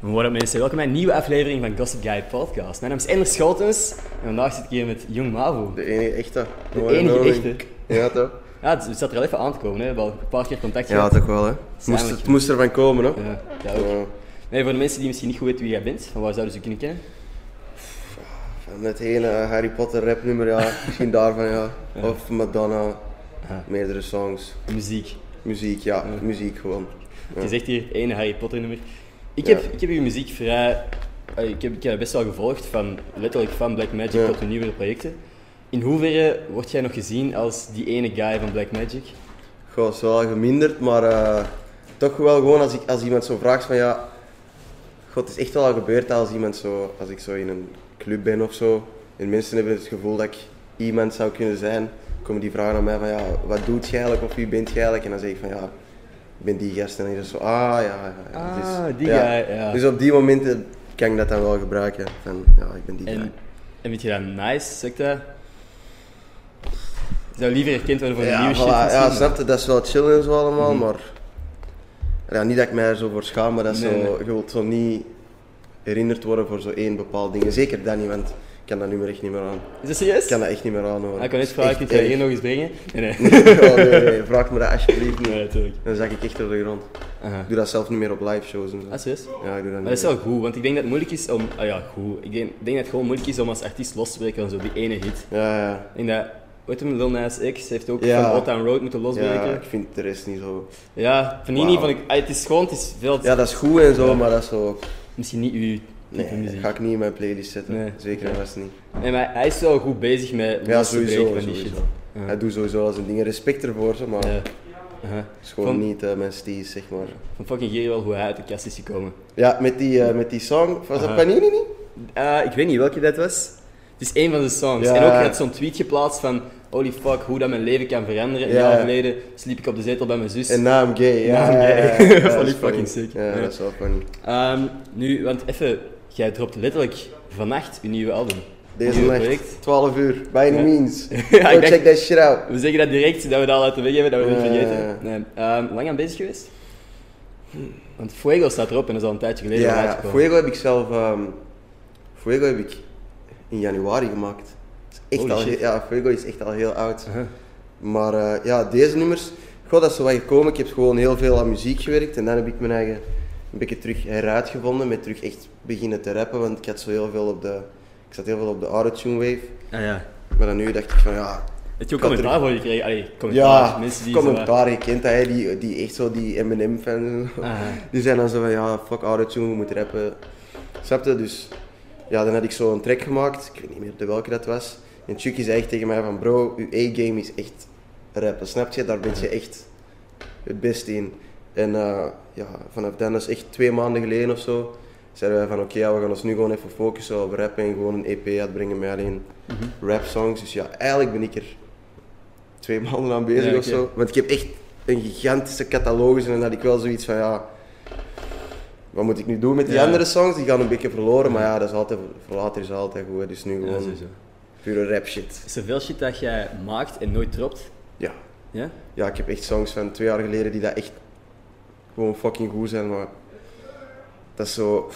What up mensen, welkom bij een nieuwe aflevering van Gossip Guy Podcast. Mijn naam is Ender Schotens en vandaag zit ik hier met Jong Mavo. De enige echte. De enige echte. Ja, toch? Ja, het zat er al even aan te komen, hè. we hebben al een paar keer contact Ja, gehad. toch wel, hè? Moest, Eigenlijk. het moest ervan komen, hè? Ja, dat ook. Ja. Nee, voor de mensen die misschien niet goed weten wie jij bent, van waar zouden ze je kunnen kennen? Van het hele Harry Potter rap nummer, ja. Misschien daarvan, ja. Of Madonna. Meerdere songs. Muziek. Muziek, ja. Muziek gewoon. Ja. Je zegt hier het ene Harry Potter nummer. Ik Ja. heb, ik heb je muziek vrij... eh, Ik heb, ik heb het best wel gevolgd, van, letterlijk van Black Magic Ja. tot de nieuwere projecten. In hoeverre word jij nog gezien als die ene guy van Black Magic? Goh, is wel geminderd, maar eh, toch wel gewoon als, ik, als iemand zo vraagt van ja... God, het is echt wel al gebeurd dat als iemand zo... Als ik zo in een club ben of zo... En mensen hebben het gevoel dat ik iemand zou kunnen zijn. Komen die vragen aan mij van ja, wat doet jij eigenlijk of wie bent jij eigenlijk? En dan zeg ik van ja, ik ben die gast. En dan is het zo, ah ja, ja. ja. Ah, Dus, die guy, ja. Dus op die momenten kan ik dat dan wel gebruiken. Van ja, ik ben die guy. En, en vind je dat nice, zeg ik dat? Zou liever herkend worden voor de Ja, nieuwe shit? voilà, ja, misschien? snap je, dat is wel chill en zo allemaal, Mhm. maar ja, niet dat ik mij er zo voor schaam, maar dat is Nee, zo, nee. je wilt zo niet herinnerd worden voor zo één bepaald ding. Zeker dat niet, want ik kan dat nummer echt niet meer aan. Is dat serieus? Ik kan dat echt niet meer aan hoor. Ah, ik kan net vragen, kun Echt je dat erg. hier nog eens brengen? Nee, nee. Oh, nee, nee, vraag me dat alsjeblieft niet. Nee, natuurlijk. Dan zak ik echt door de grond. Aha. Ik doe dat zelf niet meer op live shows en zo. Ah, serieus? Maar Ja, ik doe dat niet dat is meer. wel goed, want ik denk dat het moeilijk is om... Ah ja, goed. Ik denk, ik denk dat het gewoon moeilijk is om als artiest los te breken van zo die ene hit. Ja, ja. Ik denk dat... Weet je, Lil Nas X heeft ook Ja. van Old Town Road moeten Ja, losbreken. ik vind de rest niet zo. Ja, Vanini Wauw. vond ik... ah, het is gewoon, het is veel... Ja, dat is goed en zo, maar dat is zo. Misschien niet uw type Nee, dat muziek. ga ik niet in mijn playlist zetten. Nee. Zeker en vast niet. Nee, maar hij is wel goed bezig met Ja, los te sowieso. breken van die sowieso. shit. Ja. Hij doet sowieso al zijn dingen. Respect ervoor, zeg maar Ja. het Aha. is gewoon Van- niet eh, mijn sties, zeg maar. Van fucking Geer wel hoe hij uit de kast is gekomen. Ja, met die, eh, met die song, was Aha. dat Panini niet? Eh, ik weet niet welke dat was. Het is één van de songs. Ja. En ook hij had zo'n tweet geplaatst van holy fuck, hoe dat mijn leven kan veranderen. Een Ja. jaar geleden sliep ik op de zetel bij mijn zus. En na I'm gay, ja. Na I'm ja, gay. ja, ja. Dat Ja, vond is ik fucking funny. sick. Ja, Ja. dat is wel funny. Ehm, nu, want even, jij dropt letterlijk vannacht je nieuwe album. Deze Nieuw nacht, 12 uur, by any Ja. means. Ja, ik Go denk- check that shit out. We zeggen dat direct, dat we dat al uit de weg hebben, dat we het niet Ja. vergeten. Nee. Ehm, lang aan bezig geweest? Want Fuego staat erop en dat is al een tijdje geleden al Ja, uitgekomen. Fuego heb ik zelf... ehm, Fuego heb ik in januari gemaakt. Dat is Echt Holy al, shit. Uh-huh. he- ja, Fuego is echt al heel oud. Aha. Maar eh, ja, deze nummers, god, dat is zo wat gekomen. Ik heb gewoon heel veel aan muziek gewerkt en dan heb ik mijn eigen een beetje terug heruitgevonden, met terug echt beginnen te rappen, want ik had zo heel veel op de, ik zat heel veel op de autotune wave. Ah ja. Maar dan nu dacht ik van ja, Heb je ook Ik had commentaar voor gekregen? Allee, commentaar. ja, mensen die zo- commentaar, je kent dat, hè, die, die echt zo die Eminem fans en zo. Ah. Die zijn dan zo van ja, fuck autotune, we moeten rappen. Snap je? Dus ja, dan had ik zo een track gemaakt, ik weet niet meer de welke dat was. En Chucky zei echt tegen mij van bro, uw A-game is echt rappen, snap je? Daar ben je echt het beste in. En eh, ja, vanaf dan, dat is echt twee maanden geleden of zo, zeiden wij van oké, ja, we gaan ons nu gewoon even focussen op rappen en gewoon een EP uitbrengen met alleen Mhm. rap songs. Dus ja, eigenlijk ben ik er twee maanden aan bezig Ja, oké. of zo. Want ik heb echt een gigantische catalogus en dan had ik wel zoiets van ja, wat moet ik nu doen met die Ja. andere songs? Die gaan een beetje verloren, maar ja, dat is altijd, voor later is altijd goed. hè. Dus nu Ja, gewoon sowieso. pure rap shit. Is er veel shit dat jij maakt en nooit dropt? Ja. Ja? ja, ik heb echt songs van twee jaar geleden die dat echt gewoon fucking goed zijn, maar dat is zo...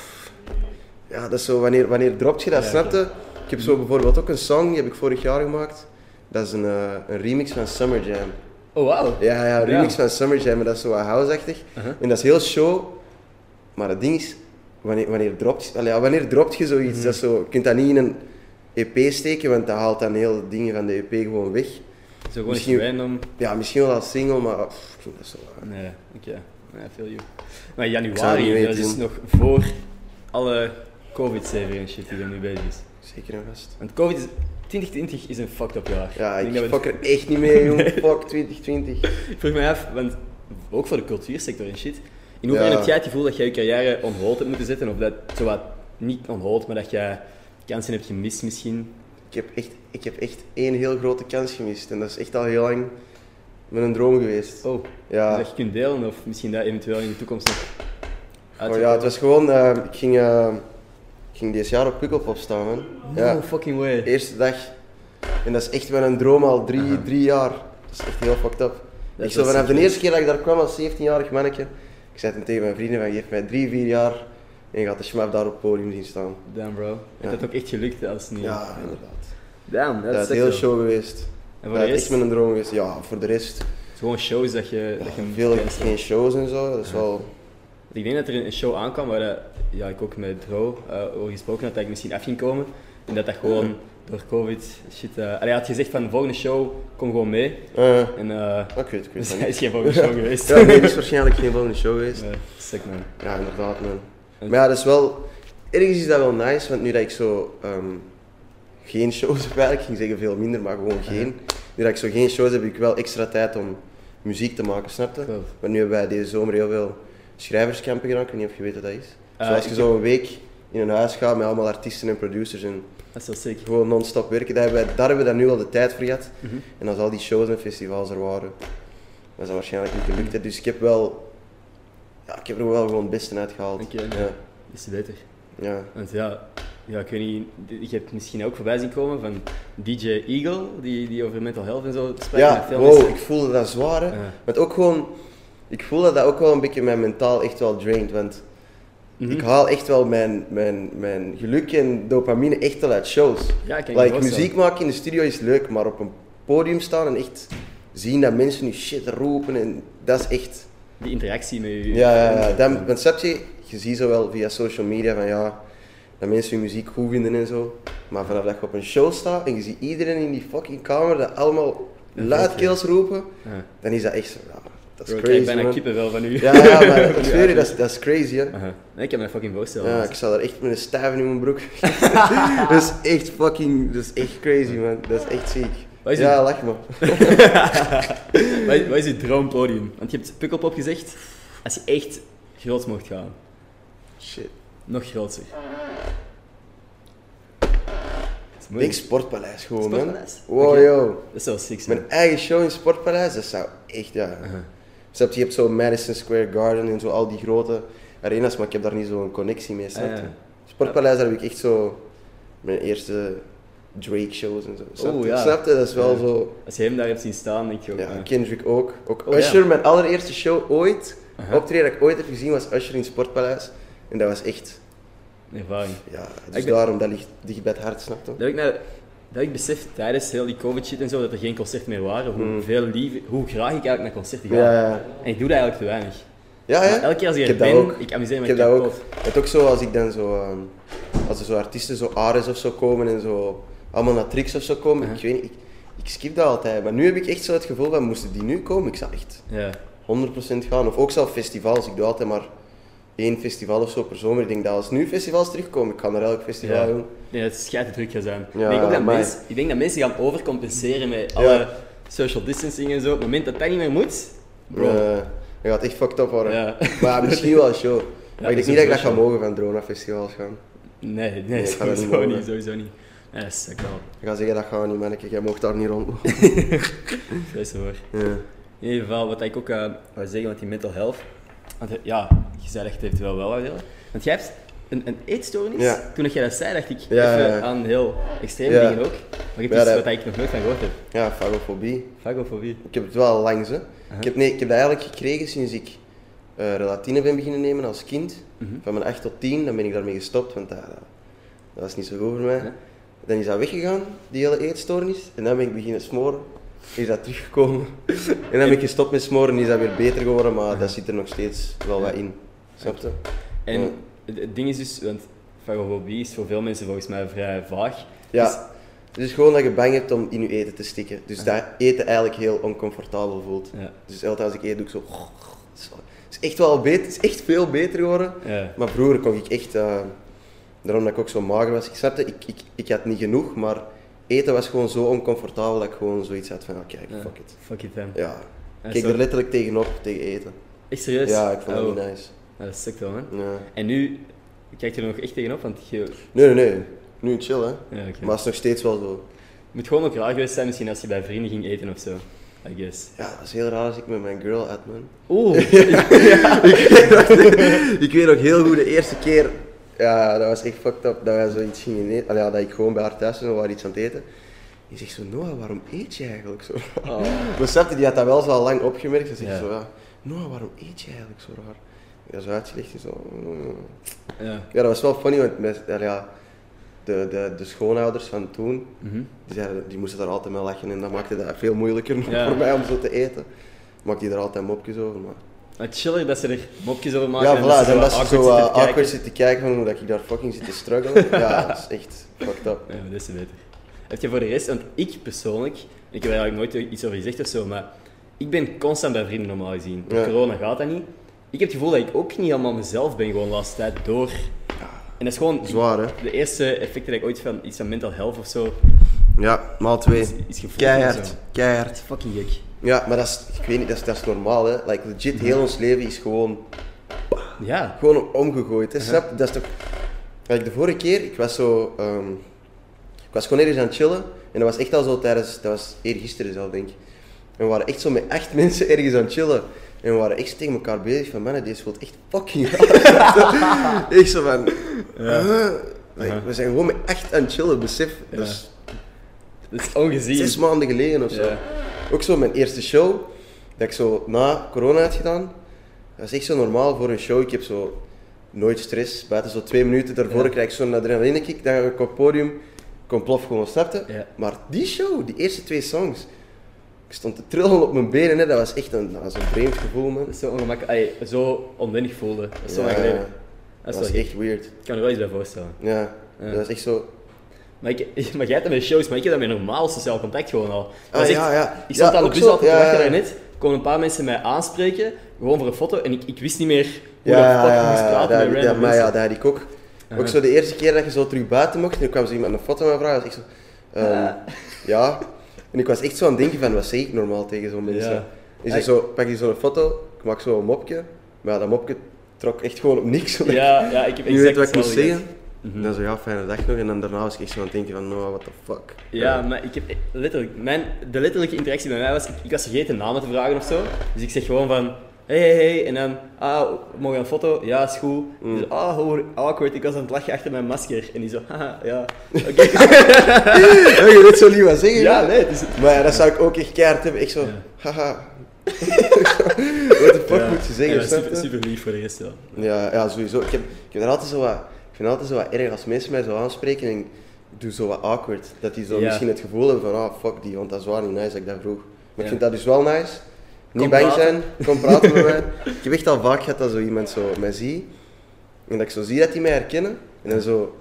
Ja, dat is zo, wanneer, wanneer dropt je dat, Ja, snap oké. je? Ik heb zo bijvoorbeeld ook een song, die heb ik vorig jaar gemaakt. Dat is een, eh, een remix van Summer Jam. Oh, wauw. Ja, ja, een Ja. remix van Summer Jam, maar dat is zo wat houseachtig. Uh-huh. En dat is heel show. Maar het ding is, wanneer, wanneer, dropt, allee, ja, wanneer dropt je zoiets? Mhm. Dat is zo, je kunt dat niet in een EP steken, want dat haalt dan heel dingen van de EP gewoon weg. Zo gewoon Misschien- eens random. Ja, misschien wel als single, maar pff, ik vind dat zo... Nee, oké. Nee, veel you. Maar zou het niet januari, weten, dat is jong. nog voor alle covid-saving en shit die er nu bezig is. Zeker en vast. Want covid is... 2020 is een fucked up jaar. Ja, denk ik dat we- fuck er echt niet mee, jong. Fuck 2020. ik vroeg mij af, want ook voor de cultuursector en shit. In hoeverre Ja. heb jij het gevoel dat jij je carrière on hold hebt moeten zetten? Of dat, zowat, niet on hold, maar dat jij kansen hebt gemist misschien? Ik heb, echt, ik heb echt één heel grote kans gemist. En dat is echt al heel lang mijn droom geweest. Oh, Ja. dat je kunt delen of misschien dat eventueel in de toekomst nog Oh ja, het was gewoon... eh, ik, ging, eh, ik ging dit jaar op Pukkelpop staan, man. No Ja. fucking way. De eerste dag. En dat is echt wel een droom al drie, drie jaar. Dat is echt heel fucked up. Dat ik is zo wel vanaf de sick, eerste keer dat ik daar kwam als 17-jarig mannetje, ik zei toen tegen mijn vrienden van geef mij drie, vier jaar En je gaat de schmap daar op het podium zien staan. Damn bro. Ja. Het had ook echt gelukt hè, als het niet... Ja, inderdaad. Damn, Dat, dat, is is echt heel zo. show geweest. En voor Dat de is echt rest, mijn droom geweest. Ja, voor de rest. het is gewoon shows dat je... dat je ja, hem veel kent. geen shows en zo. Dat is wel... Ik denk dat er een show aankwam waar dat- ja, ik ook met Dro eh, over gesproken had dat ik misschien af ging komen. En dat dat gewoon door COVID shit... eh, allee, hij had gezegd van de volgende show, kom gewoon mee. eh, En eh ik weet het, ik weet dus hij het niet. is geen volgende show geweest. Ja, nee, dat is waarschijnlijk geen volgende show geweest. Eh, sick man. Ja, inderdaad, man. En- Maar ja, dat is wel... Ergens is dat wel nice, want nu dat ik zo... ehm, geen shows heb eigenlijk, ik ging zeggen veel minder, maar gewoon geen. Nu dat ik zo geen shows heb, heb ik wel extra tijd om muziek te maken, snap je? Klopt. Maar nu hebben wij deze zomer heel veel schrijverskampen gedaan, ik weet niet of je weet wat dat is. Eh, Zoals je ik zo een week in een huis gaat met allemaal artiesten en producers en Dat is wel sick. gewoon non-stop werken, daar hebben, wij, daar hebben we dan nu al de tijd voor gehad. En als al die shows en festivals er waren, was dat waarschijnlijk niet gelukt. hè. Dus ik heb wel... Ja, ik heb er wel gewoon het beste uit gehaald. Oké, Ja, Is het beter. ja. Want ja, ja, ik weet niet, je hebt misschien ook voorbij zien komen van DJ Eagle, die, die over mental health en zo spreekt. met Ja, veel wow, mensen. ik voelde dat zwaar. Hè. Ja. Want ook gewoon, ik voel dat dat ook wel een beetje mijn mentaal echt wel draint. Want Mhm. ik haal echt wel mijn, mijn, mijn geluk en dopamine echt wel uit shows. Ja, ik kan me like, voorstellen. muziek maken in de studio is leuk, maar op een podium staan en echt zien dat mensen nu shit roepen en dat is echt. Die interactie met je. Ja, ja, ja. Dan, dan snap je, je ziet zo wel via social media van ja, dat mensen hun muziek goed vinden en zo. Maar vanaf dat je op een show staat en je ziet iedereen in die fucking kamer dat allemaal luidkeels roepen, Ja. dan is dat echt zo, ja, dat is Bro, ik crazy krijg bijna man. kippenvel van u. Ja, ja, maar ik zweer je, dat is, dat is crazy hè. Aha. Nee, ik heb me fucking voorstellen. Ja, ik zat er echt met een stijven in mijn broek. dat is echt fucking, dat is echt crazy man, dat is echt ziek. Wat is Ja, lach maar. Wat is- wat is je droompodium? Want je hebt Pukkelpop gezegd, als je echt groot mocht gaan, Shit. nog groter. Dat is Ik moeilijk. denk Sportpaleis gewoon Sportpaleis? man. Wow Oké. yo. Dat is wel sick, zijn. Mijn eigen show in Sportpaleis, dat zou echt, ja. Snap je, je hebt zo Madison Square Garden en zo al die grote arenas, maar ik heb daar niet zo'n connectie mee, snap je? Ah, ja. Sportpaleis, daar heb ik echt zo mijn eerste Drake shows en zo. Snap je? Oh, ja. Snap je? Dat is wel Ja. zo. Als je hem daar hebt zien staan, denk je ook. Ja, eh, Kendrick ook. ook Oh, Usher, ja. mijn allereerste show ooit, Aha. optreden dat ik ooit heb gezien, was Usher in Sportpaleis. En dat was echt, een ervaring. ja, dus Ik ben- daarom, dat ligt dicht bij het hart, snap je? Dat ik, nou, dat ik besef tijdens heel die covid shit en zo dat er geen concerten meer waren, hoe, veel lief, hoe graag ik eigenlijk naar concerten ga. Hmm. Ja, ja. En ik doe dat eigenlijk te weinig. Ja, Maar hè? elke keer als ik Ik er heb dat ben, ook. ik amuseer me Ik heb dat ook. kapot. Het ook zo als ik dan zo, ehm, als er zo artiesten, zo Ares of zo komen en zo, allemaal naar Tricks of zo komen, ik weet niet, ik, ik skip dat altijd. Maar nu heb ik echt zo het gevoel van, moesten die nu komen, ik zou echt Ja. 100% gaan. Of ook zelf festivals, ik doe altijd maar één festival of zo per zomer. Ik denk dat als nu festivals terugkomen, ik ga naar elk festival, Ja. jong. Nee, dat is te druk gaat zijn. Ja, ik, denk ook dat amai. mensen, ik denk dat mensen gaan overcompenseren met alle social distancing en zo. Op het moment dat dat niet meer moet, bro. Eh, dat gaat echt fucked up worden. Ja. Maar misschien wel een show. maar ik dat is denk niet dat ik dat sowieso ga show. mogen van drone naar festivals gaan. nee, nee, dat gaat niet sowieso mogen. niet. Sowieso niet. Ja, dat is wel. Ik ga zeggen, dat gaan niet, manneke. Jij mocht daar niet rondlopen. Vrees hoor. ja. In ieder geval, wat ik ook eh wou zeggen, want die mental health. Want eh, ja, je zei echt eventueel wel wat willen. Want jij hebt een, een eetstoornis. Ja. Toen dat jij dat zei, dacht ik Ja, even ja, ja. aan heel extreme Ja. dingen ook. Maar het Ja, is dat- wat ik nog nooit van gehoord heb. ja, fagofobie. Fagofobie. Ik heb het wel langs, hè. ik, heb, nee, ik heb dat eigenlijk gekregen sinds ik eh relatine ben beginnen nemen als kind. Mhm. Van mijn 8 tot 10, dan ben ik daarmee gestopt, want dat, dat, dat was niet zo goed voor mij. Ja. Dan is dat weggegaan, die hele eetstoornis. En dan ben ik beginnen smoren. Is dat teruggekomen. en dan ben ik gestopt met smoren, is dat weer beter geworden, maar dat zit er nog steeds wel wat in. Snap je? En Ja. het- het ding is dus, want fagofobie is voor veel mensen volgens mij vrij vaag. Dus- Ja. Het is gewoon dat je bang hebt om in je eten te stikken. Dus dat eten eigenlijk heel oncomfortabel voelt. ja. Dus altijd als ik eet, doe ik zo. Het is echt wel beter, het is echt veel beter geworden. Ja. Maar vroeger kon ik echt, eh, daarom dat ik ook zo mager was, ik snapte, ik, ik, ik had niet genoeg, maar eten was gewoon zo oncomfortabel dat ik gewoon zoets had van, ja, kijk, Ja. fuck it. Fuck it, man. Ja. Ja, Ik keek zo- er letterlijk tegenop, tegen eten. Echt serieus? Ja, ik vond dat Oh. niet nice. Ja, Dat is sick dan, man. Ja. En nu kijk je er nog echt tegenop, want je Nee, nee, nee. Nu chill, hè. Ja, oké. Maar het is nog steeds wel zo. moet gewoon ook raar geweest zijn misschien als je bij vrienden ging eten of zo. I guess. Ja, dat is heel raar als ik met mijn girl uit, man. Oeh, ik weet nog heel goed de eerste keer. Ja, dat was echt fucked up dat wij zoiets gingen eten. Allee, ja, dat ik gewoon bij haar thuis was en we waren iets aan het eten. Die zegt zo, Noah, waarom eet je eigenlijk zo raar? Maar snap je, die had dat wel zo al lang opgemerkt. Ze zegt Oh. Ja. zo, ja, Noah, waarom eet je eigenlijk zo raar? ja, zo uitgelegd en zo. "Mm." Ja. Ja, dat was wel funny, want met, ja, de, de, de schoonouders van toen, Mhm. die, zeiden, die moesten daar altijd mee lachen en dat maakte dat veel moeilijker nog Ja. voor mij om zo te eten. Maakte die er altijd mopjes over, maar... Het chiller dat ze er mopjes over maken. ja, en voilà, ze dan was ze awkward zo zitten eh, te kijken. awkward zitten kijken van hoe dat ik daar fucking zit te struggelen. ja, dat is echt fucked up. Ja, maar dat is beter. Heb je voor de rest, want ik persoonlijk, ik heb daar eigenlijk nooit iets over gezegd of zo, maar ik ben constant bij vrienden normaal gezien. Door Ja. corona gaat dat niet. Ik heb het gevoel dat ik ook niet helemaal mezelf ben, gewoon de laatste tijd door. En dat is gewoon Zwaar, hè? de eerste effecten dat ik ooit van iets van mental health of zo Ja, maal twee. is, is gevoeld. en Keihard, zo. keihard. Dat is fucking gek. Ja, maar dat is, ik weet niet, dat is, dat is normaal, hè. Like, legit, heel ons leven is gewoon Ja. Gewoon omgegooid, hè? Snap? Dat is toch... Kijk, de vorige keer, ik was zo... ehm, ik was gewoon ergens aan het chillen. En dat was echt al zo tijdens... Dat was eergisteren zelf, denk ik. En we waren echt zo met echt mensen ergens aan het chillen. En we waren echt tegen elkaar bezig van... Mannen, deze voelt echt fucking raar. echt zo van... huh? Like, Aha. We zijn gewoon met echt aan het chillen, besef. Dat Ja. is Dat is ongezien. zes maanden geleden of zo. Ja. Ook zo mijn eerste show, dat ik zo na corona had gedaan. Dat is echt zo normaal voor een show. Ik heb zo nooit stress. Buiten zo twee minuten daarvoor Ja. krijg ik zo'n adrenalinekick. Dan ga ik op het podium, ik kom plof gewoon starten. Ja. Maar die show, die eerste twee songs, ik stond te trillen op mijn benen. Hè. Dat was echt een, dat was een vreemd gevoel, man. Dat is zo ongemakkelijk. Allee, zo onwennig voelde. Dat is zo Ja, lang geleden. ja. Dat Dat is was wel gek. echt weird. Ik kan er wel iets bij voorstellen. Ja. Ja. dat was echt zo... Maar, ik, maar jij hebt dat met shows, maar ik heb dat met normaal sociaal contact gewoon al. Dat Ah, is echt- ja, ja. Ik zat Ja, aan de ook bus zo, al te ja, wachten ja. daarnet, komen een paar mensen mij aanspreken, gewoon voor een foto, en ik, ik wist niet meer hoe Ja, dat ja, fuck ik ja, moest ja, praten dat, met ja, random maar ja, mensen. dat had ik ook. Aha. Ook zo de eerste keer dat je zo terug buiten mocht, en toen kwam ze iemand een foto met vragen, was ik zo... ehm, Ja. En ik was echt zo aan het denken van, wat zeg ik normaal tegen zo'n mensen? Ja. Is er Ik- zo, pak je zo'n foto, ik maak zo een mopje, maar ja, dat mopje trok echt gewoon op niks. omdat ik ja, ja, ik heb exact niet Mhm. weet wat ik moest hetzelfde zeggen. gehad. En dan zo, ja, fijne dag nog. En dan daarna was ik echt zo aan het denken van, no, what the fuck. Ja, maar ik heb e- letterlijk, mijn, de letterlijke interactie bij mij was, ik, ik was vergeten namen te vragen of zo. Dus ik zeg gewoon van, hey, hey, hey, en dan, ah, mogen we een foto? Ja, is goed. Mm. Dus, ah, hoe awkward, ik was aan het lachen achter mijn masker. En die zo, haha, ja, oké. Ja, je weet zo niet wat zeggen. ja, hè? nee, het is... Maar ja, dat zou ik ook echt keihard hebben. Echt zo, Ja. haha. Wat de fuck Ja. moet je Ja, zeggen, snap super, je? super lief voor de rest, ja. Ja, ja sowieso. Ik, heb, ik, heb er altijd zo wat, ik vind het altijd zo wat erg als mensen mij zo aanspreken en ik doe zo wat awkward. Dat die zo Ja. misschien het gevoel hebben van, ah fuck die, want dat is waar niet nice dat ik dat vroeg. Maar Ja. ik vind dat dus wel nice. Niet Kom bang praten. zijn, kom praten met mij. Ik heb echt al vaak gehad dat zo iemand zo mij ziet en dat ik zo zie dat die mij herkennen. En dan zo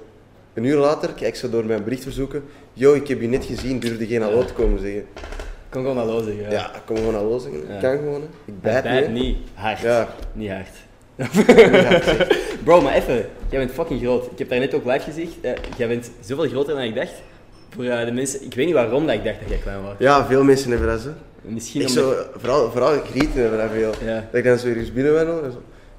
een uur later kijk ik zo door mijn berichtverzoeken. Yo, ik heb je net gezien, durfde geen hallo te komen zeggen. Ik kon gewoon hallo zeggen, Ja, ik kom gewoon hallo zeggen. Ja. Ik kan gewoon. hè. Ik Bijt bijt niet. hè. niet. Hard. Ja. Niet hard. Ja, zeg. Bro, maar even. Jij bent fucking groot. Ik heb daar net ook live gezegd. eh, jij bent zoveel groter dan ik dacht. Voor eh, de mensen... Ik weet niet waarom dat ik dacht dat jij klein was. Ja, veel mensen hebben dat zo. Misschien ik omdat... zo, vooral, vooral grieten hebben dat veel. Ja. Dat ik dan zo ergens binnen ben en zo.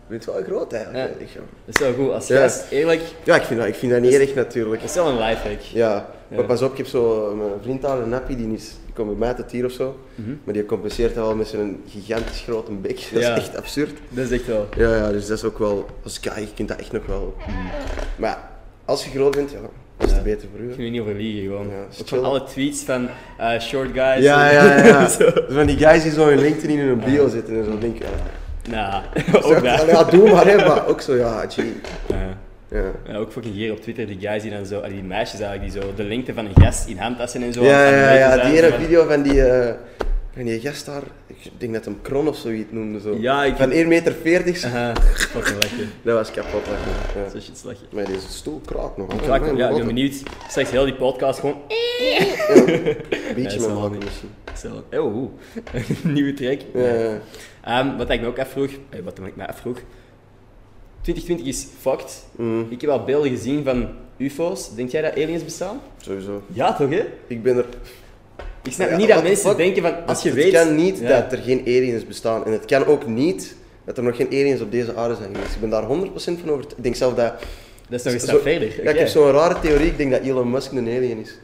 Je bent wel groot eigenlijk. Ja. Ik zo, Dat is wel goed. Als Ja. gast, eerlijk... Ja, ik vind dat, ik vind dat niet erg natuurlijk. Dat is wel een lifehack. Ja. Dus- Ja. Maar pas op, ik heb zo eh, mijn vriend daar, een nappie, die, is, die komt bij mij tot hier of zo. Maar die compenseert dat wel met zijn gigantisch grote bek. Dat Mhm. Ja. is echt absurd. Dat is echt wel... Ja, ja, dus dat is ook wel... Als kijk, je kunt dat echt nog wel... Maar ja, als je groot bent, ja, is het beter voor u. Ik hè. kan er niet over liegen, gewoon. Ja, is ook van chill. alle tweets van eh, short guys. Ja, ja, ja. ja. Dus Zo. Van die guys die zo in LinkedIn in hun bio zitten en zo denken... Ja, Nah, ook ja, daar. ja, doe maar, hè, maar ook zo, ja, gee. Ja. Ja. Ja, ook fucking hier op Twitter, die guys die dan zo, ah, die meisjes eigenlijk, die zo de lengte van een gast in handtassen en zo. aan Ja, het ja, aanwijzen ja, zijn, die zo ene van- video van die, eh, van die gast daar, ik denk dat hem Kron of zoiets noemde zo. Ja, ik- Van 1,40 meter, Aha, fucking lekker. dat was kapot. lachen, Ja. Zo shit slag. Maar deze stoel kraakt nog. hè. Ja, Mijn ja, ik god, ben benieuwd. Straks heel die podcast gewoon. Een Ja, beetje is met wel maken goed. misschien. Zo, oh, oeh. nieuwe track. Ja, ja, ja. Ehm, wat ik me ook afvroeg, eh, wat ik me afvroeg. 2020 is fucked. Mm, Ik heb al beelden gezien van UFO's. Denk jij dat aliens bestaan? sowieso. Ja, toch hè? Ik ben er... Ik snap Ja, niet dat what the mensen fuck? denken van als je het weet. kan niet Ja. dat er geen aliens bestaan. En het kan ook niet dat er nog geen aliens op deze aarde zijn geweest. Ik ben daar 100% van over. Ik denk zelf dat... Dat is nog een zo- stap verder. Ja, ik Oké. heb zo'n rare theorie. Ik denk dat Elon Musk een alien is.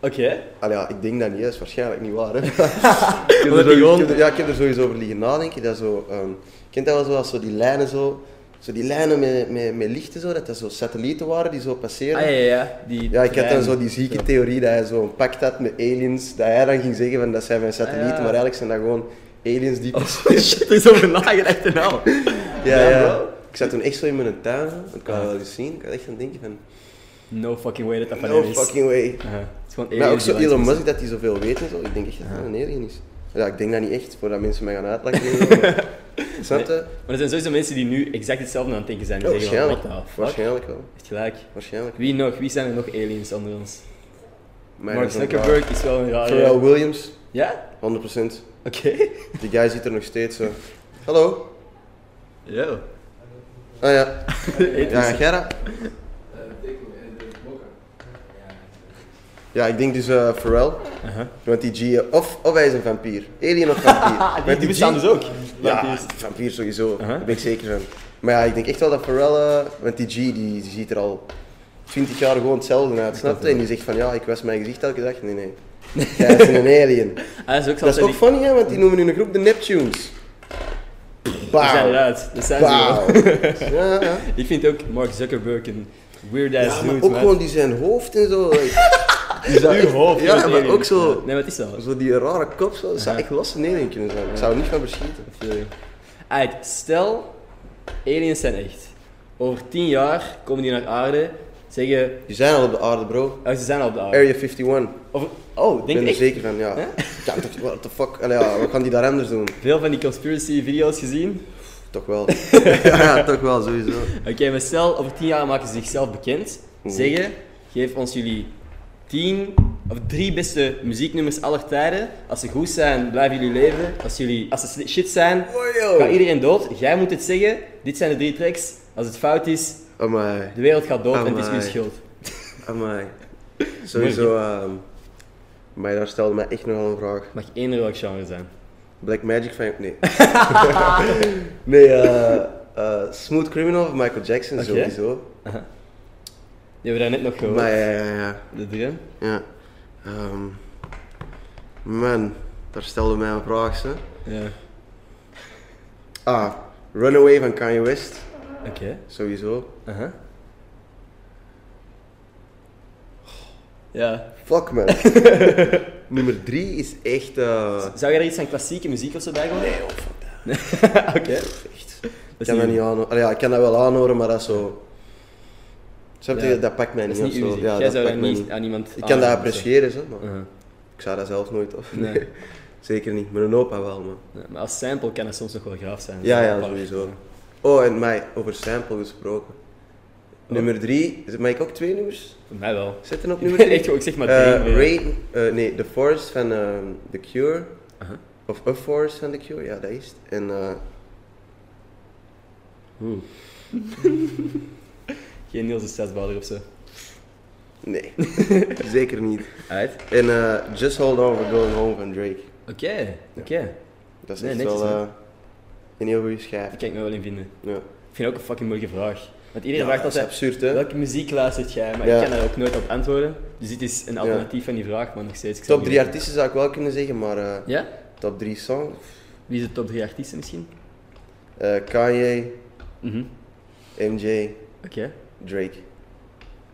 Oké. Ah ja, ik denk dat niet, dat is waarschijnlijk niet waar. Hè? ik, die heb er sowieso- gewoon- ik heb er- ja, ik heb er sowieso over liggen nadenken. Dat zo, ehm, kent dat wel zo, als zo die lijnen zo, zo die lijnen met, met, met lichten zo, dat dat zo satellieten waren die zo passeren. Ah ja, ja, ja. Die Ja, ik had dan zo die zieke. zieke theorie dat hij zo'n pact had met aliens, dat hij dan ging zeggen van dat zijn mijn satellieten, Ah, ja. maar eigenlijk zijn dat gewoon aliens die... Oh shit, er is over nagedacht en al. ja, ja. bro. Ah. Ik zat toen echt zo in mijn tuin, want ik kan dat wel eens zien. Ik had echt aan het denken van, No fucking way dat dat van no hem is. fucking way. Ja, het is gewoon Maar alien ook zo die Elon langs Musk, dat hij zoveel weet en zo. Ik denk echt dat dat een alien is. Ja, ik denk dat niet echt, voordat mensen mij gaan uitlachen. en zo, maar- Snap je? Maar er zijn sowieso mensen die nu exact hetzelfde aan het denken zijn. Die Ja, zeggen van, Oh, waarschijnlijk. what the fuck? Waarschijnlijk wel. Echt gelijk. Waarschijnlijk. Wie nog? Wie zijn er nog aliens onder ons? Maar Mark dat is een Zuckerberg is wel een raar. rare... Pharrell Williams, Ja? 100%. Oké. Die guy zit er nog steeds zo. Hallo. Yo. Ah ja. Ja, Ja. Gerda. Ja, ik denk dus eh Pharrell. Want die G, eh, of, of hij is een vampier. Alien of vampier. Want Die, die bestaan G- dus ook. Ja, Vampiers. vampier sowieso. Uh-huh. Daar ben ik zeker van. Maar ja, ik denk echt wel dat Pharrell, eh, want die G die, die ziet er al 20 jaar gewoon hetzelfde uit, snap je? En die zegt van ja, ik was mijn gezicht elke dag. Nee, nee. Hij is een alien. Ah, dat is ook zo. Dat is ook funny, hè, want die noemen hun groep de Neptunes. Die zijn Bauw. eruit. Dat zijn ze wel. Bauw. Ja, ja. Ik vind ook Mark Zuckerberg een weird ass Ja, dude. maar ook man. gewoon die zijn hoofd en zo. Die zou Uw echt- hoofd. Ja, dat is maar alien. ook zo. Nee, maar het is wel. Zo die rare kop, zo, dat zou Ja. echt los in één kunnen zijn. Ik zou er niet van verschieten. Uit, stel, aliens zijn echt. Over tien jaar komen die naar aarde, zeggen, Die zijn al op de aarde, bro. oh, ze zijn al op de aarde. Area 51. Of, oh, denk Ik ben je er echt? zeker van, ja. Ja, toch, what the fuck? Allee, ja, wat gaan die daar anders doen? Veel van die conspiracy video's gezien. Toch wel. ja, ja, toch wel, sowieso. Oké, maar stel, over tien jaar maken ze zichzelf bekend. Zeggen, geef ons jullie tien of drie beste muzieknummers aller tijden. Als ze goed zijn, blijven jullie leven. Als, jullie, als ze shit zijn, Wow. gaat iedereen dood. Jij moet het zeggen, dit zijn de drie tracks. Als het fout is, Amai, de wereld gaat dood en het is Amai. mijn schuld. amai. Sowieso, ehm, maar daar stelde mij echt nogal een vraag. Mag één welk genre zijn. Black Magic van... Nee. nee, eh, eh, Smooth Criminal van Michael Jackson, Oké. sowieso. Die hebben we daarnet nog gehoord. Maar ja, ja, ja. De drum. ja. Ehm, man, daar stelde mij een vraag, ze. Ja. Ah, Runaway van Kanye West, Oké. sowieso. Aha. Ja. Fuck man. Nummer 3 is echt. eh Zou jij er iets van klassieke muziek of zo bij gooien? Nee, of Oké. echt. Ik is kan dat niet- niet aanhoren. Allee, ja, ik kan dat wel aanhoren, maar dat is zo. Snap je? Ja. Dat pakt mij Dat niet. is niet of uw zo. muziek. Ja, jij zou pakt dat mij niet Ah, aan iemand Ik kan dat aanraden Uh-huh. of zo. appreciëren, zo, maar Aha. ik zou dat zelf nooit of. Nee. Nee. Zeker niet. Mijn opa wel, man. Ja, maar als sample kan dat soms nog wel graaf zijn. Ja, Zo, ja, een paar- sowieso. Oh, en mij, over sample gesproken. Oh. Nummer 3, mag ik ook twee nummers Voor mij wel. zetten op Ik nummer 3? ben echt gewoon, ik zeg maar Eh, drie, maar- Rain, eh, nee, The Forest van ehm, The Cure. Aha. Of A Forest van The Cure, ja, dat is het. En eh, Oeh. Geen Niels de Stadsbouwer of zo. nee, zeker niet. Uit. En eh, Just Hold On for Going Home van Drake. Oké, oké. Dat is Nee, echt netjes, wel hè? eh, een heel goede schijf. Daar kan ik me wel in vinden. Ja. Ik vind het ook een fucking moeilijke vraag. Want iedereen Ja, vraagt dat is altijd, absurd, hè? welke muziek luistert jij? Maar Ja. ik kan daar ook nooit op antwoorden. Dus dit is een alternatief van die vraag, maar nog steeds. ik zou niet Top 3 weten. artiesten zou ik wel kunnen zeggen, maar eh, Ja? top 3 songs. Wie is de top 3 artiesten misschien? Eh, Kanye, Mhm. MJ, Oké, Drake.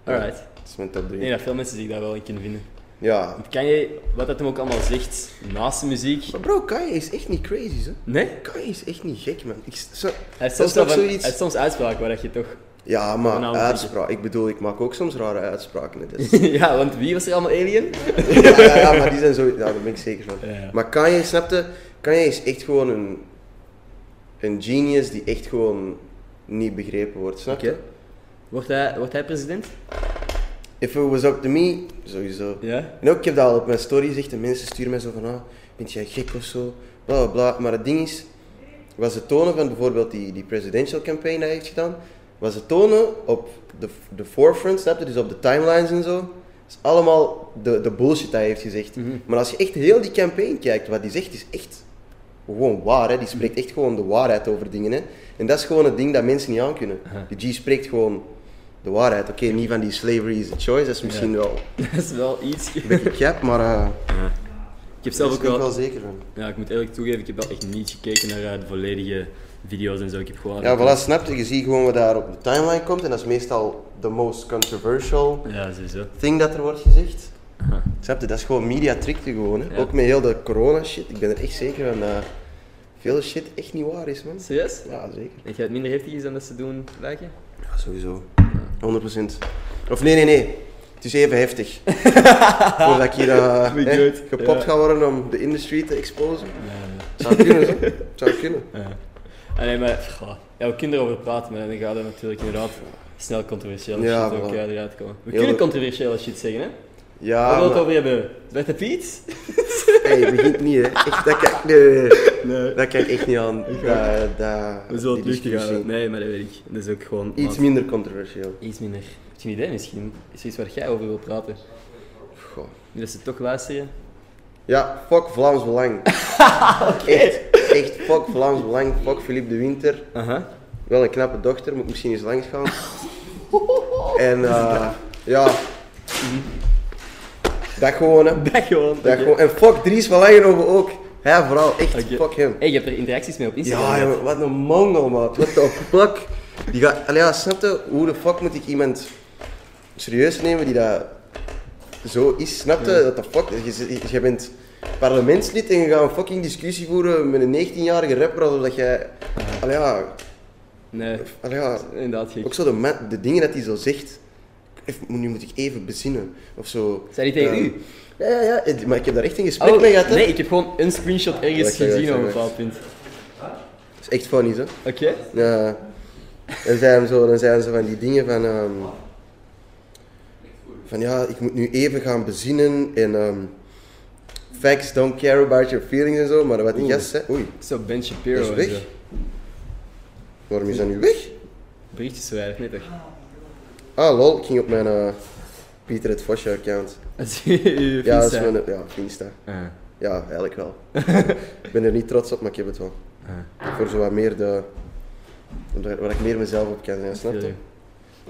alright. Dat is mijn top Ik 3. denk dat veel mensen zich daar wel in kunnen vinden. Ja. Want Kanye, wat dat hem ook allemaal zegt, naast de muziek... Maar bro, Kanye is echt niet crazy, hè? Nee? Kanye is echt niet gek, man. Ik, zo, Hij heeft Dat soms, is toch wel van- zoiets- hij heeft soms uitspraken waar dat je toch... Ja, Van maar oude uitspraak. Ik bedoel, ik maak ook soms rare uitspraken. hè, dus. ja, want wie was er allemaal alien? ja, ja, ja, maar die zijn zo. Ja, daar ben ik zeker van. Ja, ja. Maar Kanye, snapte? Kanye is echt gewoon een, een genius die echt gewoon niet begrepen wordt, snap je? Oké. Wordt hij, wordt hij president? If it was up to me, sowieso. Ja. En ook, ik heb dat al op mijn story gezegd en mensen sturen mij zo van, ah, vind jij gek of zo, bla bla bla. Maar het ding is, was het tonen van bijvoorbeeld die, die presidential campaign die hij heeft gedaan, was het tonen op de, de forefront, snap je, dus op de timelines en zo, dat is allemaal de, de bullshit die hij heeft gezegd. Maar als je echt heel die campaign kijkt, wat hij zegt is echt gewoon waar, hè. die spreekt echt gewoon de waarheid over dingen. Hè. En dat is gewoon het ding dat mensen niet aankunnen. Aha. Die G spreekt gewoon de waarheid. Oké, niet van die slavery is a choice, dat is misschien wel Dat is wel iets... een beetje gek, maar... eh, Ik heb zelf ook wel... zeker van. Ja, ik moet eerlijk toegeven, ik heb wel echt niet gekeken naar eh, de volledige video's en zo. Ik heb gewoon... Ja, voilà, snap je. Je ziet gewoon wat daar op de timeline komt. En dat is meestal de most controversial Ja, sowieso. thing dat er wordt gezegd. Aha. Snap je? Dat is gewoon media trickje gewoon. Hè. Ja. Ook met heel de corona shit. Ik ben er echt zeker van dat veel shit echt niet waar is, man. Serieus? Ja, zeker. Denk jij het minder heftig is dan dat ze doen lijken? Ja, sowieso. 100%. Of nee, nee, nee. Het is even heftig. Voordat ik hier eh, Weet hè, nooit. gepopt Ja. ga worden om de industry te exposen. Zou kunnen, zo. Zou kunnen. Ja. Ah, nee, maar goh, ja, we kunnen erover praten, maar dan gaat er natuurlijk inderdaad snel controversiële Ja, shit ook voilà. eh, eruit komen. We Heel kunnen de- controversiële shit zeggen, hè? Waar Ja, wil je het maar... over hebben? Zwarte Piet? Hey, begint niet, hè. Echt, dat kan... Nee, nee, nee. Nee. Dat kan ik echt niet aan. Ik ook. Dat, dat, We zullen het luchtig die discussie. houden. Nee, maar dat weet ik. Dat is ook gewoon... Iets maar- minder controversieel. Iets minder. Heb je een idee misschien? Is er iets waar jij over wil praten? Goh. Nu dat ze toch luisteren? Ja, fuck Vlaams Belang. echt, echt, fuck Vlaams Belang, fuck Philippe de Winter. Aha. Wel een knappe dochter, moet misschien eens langs gaan. En eh, ja, dat gewoon hè. Dat gewoon. Dat gewoon. En fuck Dries van Langenhoven ook. Hij vooral, echt, Oké. fuck hem. Hey, je hebt er interacties mee op Instagram. Ja, gehad. jongen, wat een mangel, man. What the fuck? Die gaat, allee, ja, snap je, hoe de fuck moet ik iemand serieus nemen die dat zo is? Snap je, what the fuck? Je, zit- je bent parlementslid en je gaat een fucking discussie voeren met een 19-jarige rapper alsof dat jij... Allee, ja, Nee, allee, ja, inderdaad gek. ook zo de, ma- de dingen dat hij zo zegt. Even- nu moet ik even bezinnen, of zo. Zei die tegen Ja. u? Oh, Ja, ja, ja, eh, maar ik heb daar echt een gesprek mee gehad, hè. nee, ik heb gewoon een screenshot ergens Wacht, wacht, gezien op een wacht. bepaald punt. Dat is echt funny, hè. Oké? Ja. En zijn zo, dan zijn ze van die dingen van. ehm, van ja, ik moet nu even gaan bezinnen en. ehm, facts don't care about your feelings en zo, maar wat die Oeh. gast zei. Oei, Zo Ben Shapiro dat is en weg. zo. Waarom is dat nu weg? Berichtjes zo weinig, nee toch? Ah, lol, ik ging op mijn. eh, Pieter het Vosje account. Dat is je Ja, dat is Finsta. mijn. Ja, Insta. Ah, Ja, eigenlijk wel. ik ben er niet trots op, maar ik heb het wel. ah. Voor zo wat meer de. Waar waar ik meer mezelf op kan zijn, snap je? Ik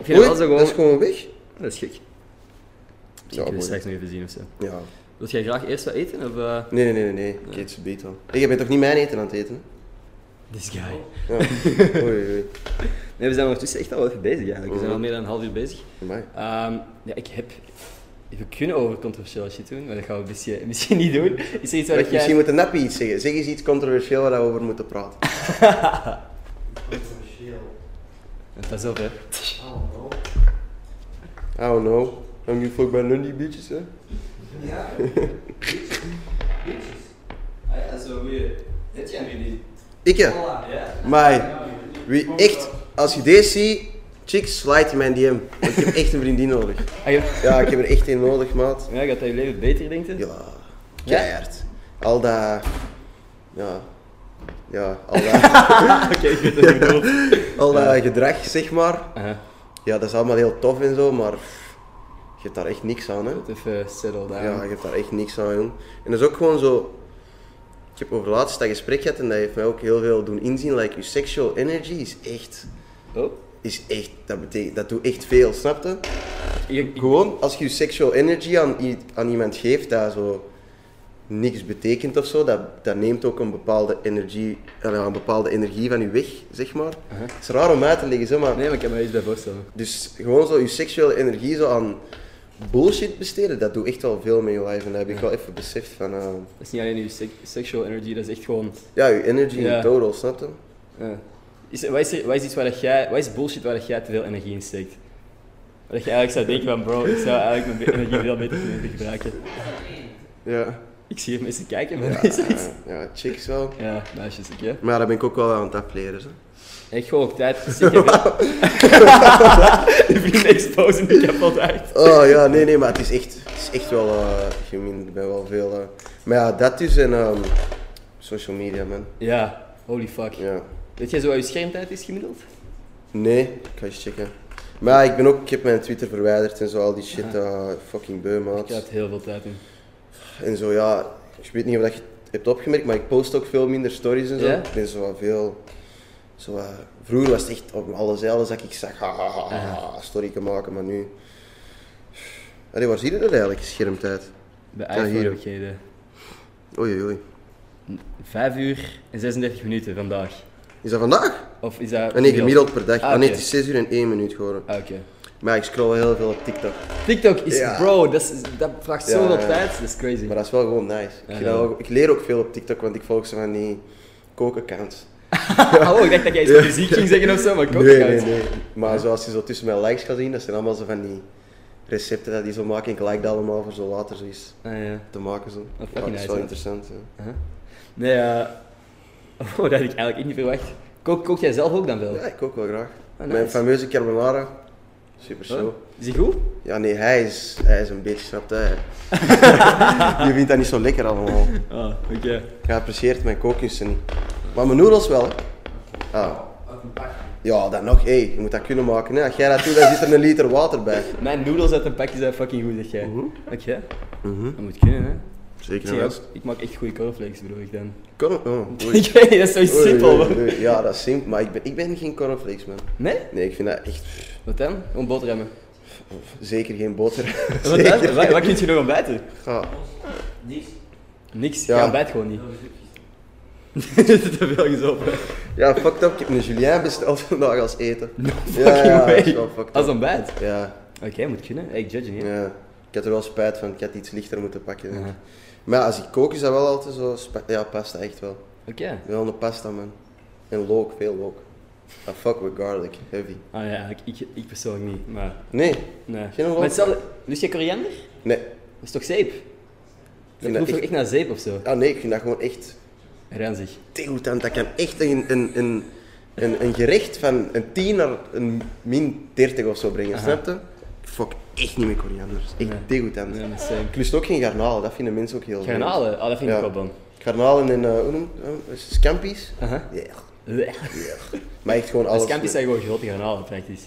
vind dat wel Oei, zo dat is gewoon... gewoon weg. Dat is gek. Ja, Misschien kunnen we mooi. straks nog even zien of zo. Ja, Wil jij graag eerst wat eten of... eh, Nee, nee, nee, nee, nee. Ik eet ze beet wel. Hey, jij bent toch niet mijn eten aan het eten? This guy. hè? Ja. oei, oei. Nee, we zijn ondertussen echt al wel even bezig eigenlijk. We zijn al Mhm. meer dan een half uur bezig. Amai. Ehm, ja, ik heb... We kunnen over controversieel shit doen, maar dat gaan we misschien, misschien niet doen. Is er iets waar Wacht, jij... Misschien moet de nappie iets zeggen. Zeg eens iets controversieel waar we over moeten praten. Eh, Pas op, hè. I don't know. I'm you fuck by Lundy bitches, hè? Ja. Bitches. Ah ja, dat is wel weer. Dit jaar weer niet. Ik ja. Ja. Maar wie echt, als je deze ziet, chicks, slide in mijn DM. Want ik heb echt een vriendin nodig. Ja, Ja, ik heb er echt een nodig, maat. gaat dat je leven beter, denk je? Ja, keihard. Al dat. Ja. Ja, al dat, Oké, ik weet wat je bedoelt. al dat gedrag, zeg maar. Aha, Ja, dat is allemaal heel tof en zo, maar pff, je hebt daar echt niks aan, hè? het even eh, settle down. Ja, je hebt daar echt niks aan, jong. En dat is ook gewoon zo. Ik heb over laatst dat gesprek gehad en dat heeft mij ook heel veel doen inzien. Like, je sexual energy is echt. Oh, Is echt dat, betekent, dat doet echt veel, snap je? ik, ik- Gewoon als je je sexual energy aan, i- aan iemand geeft dat zo niks betekent of zo, dat, dat neemt ook een bepaalde energie, eh, een bepaalde energie van je weg, zeg maar. Aha. Het is raar om uit te leggen, zo, maar Nee, maar ik kan me er iets bij voorstellen. dus gewoon zo je seksuele energie zo aan bullshit besteden, dat doet echt wel veel met je life. En dat heb ik wel even beseft van, eh, Dat is niet alleen je sec- sexual energy, dat is echt gewoon. ja, je energy Ja. in total, snap je? eh. Is, er- wat, is er- wat is iets waar dat jij, wat is bullshit waar dat jij te veel energie in steekt? Waar Dat je eigenlijk zou denken van bro, ik zou eigenlijk mijn be- energie veel beter kunnen gebruiken. Ja. Ik zie hier mensen kijken, maar Ja, is er iets? Eh, ja, chicks wel. Ja, meisjes, ik hè. Maar ja, dat ben ik ook wel aan het afleren. Zo. Ik gewoon ook tijd. Ik heb de vrienden exposen die ik heb altijd. Oh ja, nee, nee, maar het is echt, het is echt wel eh gemeen. Ik ben wel veel. eh, maar ja, dat is een ehm, social media, man. Ja, holy fuck. Ja. Weet jij zo wat je schermtijd is gemiddeld? Nee, ik ga eens checken. Maar ja, ik ben ook, ik heb mijn Twitter verwijderd en zo, al die shit, eh, fucking beu, Ik maat. heb heel veel tijd in. En zo ja, ik weet niet of dat je het hebt opgemerkt, maar ik post ook veel minder stories en zo. Ja? Ik ben zo wat veel. Zo wat- vroeger was het echt op alles alles dat ik zag, ha, ha, ha, ha, story kan maken, maar nu. Allee, waar zie je dat eigenlijk, schermtijd? Bij Ja, iPhone hier. heb jij de Oei, oei, oei. 5 uur en 36 minuten vandaag. Is dat vandaag? Of is dat... Ah, nee, gemiddeld per dag. Ah, Ah, nee, oké. het is 6 uur en 1 minuut geworden. Ah, oké. Maar ik scroll wel heel veel op TikTok. TikTok is... Ja. Bro, dat, is- dat vraagt Ja, zoveel ja. tijd. Dat is crazy. Maar dat is wel gewoon nice. Ik, Ja, vind ja. dat wel- ik leer ook veel op TikTok, want ik volg ze van die kookaccount. Oh, ik dacht dat jij iets Ja. van muziek ging zeggen of zo, maar ik ook Nee, niet. nee, nee. Maar zoals je zo tussen mijn likes gaat zien, dat zijn allemaal zo van die recepten dat die zo maken. Ik like dat allemaal voor zo later zoiets Ah, ja. te maken. Zo. Ja, fucking dat is nice, wel hè? interessant. Ja. Huh? Nee, eh, oh, dat had ik eigenlijk niet verwacht. Kook, kook jij zelf ook dan wel? Ja, ik ook wel graag. Ah, nice. Oh. Mijn fameuze carbonara. Super show. Is die goed? Ja, nee, hij is, hij is een beetje, snapt hij? Je vindt dat niet zo lekker allemaal. Ah, oké. Je apprecieert mijn kookjes en... Maar mijn noedels wel, hè. Ah. Ja, dan nog. Hé, je moet dat kunnen maken, hè. Als jij dat doet, dan zit er een liter water bij. Mijn noedels uit een pakje zijn fucking goed, zeg jij. Oké. Mhm. Dat moet kunnen, hè? Ik, Zeker zeg ook, ik maak echt goede cornflakes, bedoel ik dan. Kan het? Oh, oei. ik weet niet, dat is zo Oei, simpel, oei, man. oei. Ja, dat is simpel, maar ik ben, ik ben geen cornflakes, man. Nee? Nee, ik vind dat echt pff, Wat dan? Om boterhammen. zeker geen boter. Wat dan? Wat, wat kun je nog ontbijten? Ja, Niks, Ja. je ontbijt gewoon niet. Te veel gezopen. ja fucked up. Ik heb een Julien besteld vandaag als eten. No Fucking dat is way. wel fucked up. Als ontbijt? Ja, Oké, moet kunnen. Ik judge niet. hè. ja, ik had er wel spijt van. Ik had iets lichter moeten pakken. denk ik. Maar ja, als ik kook is dat wel altijd zo... spa- Ja, pasta echt wel. Oké. Wel een pasta, man. En look, veel look. I fuck with garlic, heavy. Ah ja, ik, ik, ik persoonlijk niet, maar... Nee, Nee. Geen maar rol. hetzelfde... Lust je koriander? nee. Dat is toch zeep? Dat vind dat proeft toch echt- echt naar zeep of zo? Ah nee, ik vind dat gewoon echt Ranzig. Teeuwtant, dat kan echt een, een, een, een, een gerecht van een 10 naar een min 30 of zo brengen, snap je? Ik Fok echt niet met koriander. Dat is Echt Nee. teeuwtant. Nee, dat is same. Ik lust ook geen garnalen, dat vinden mensen ook heel leuk. Garnalen? Ah, dat vind ik Ja. wel bon. Garnalen en, eh, hoe noem eh, scampi's. Aha. Ja, Blech. maar echt gewoon alles. Scampi's met- zijn gewoon grote garnalen, praktisch.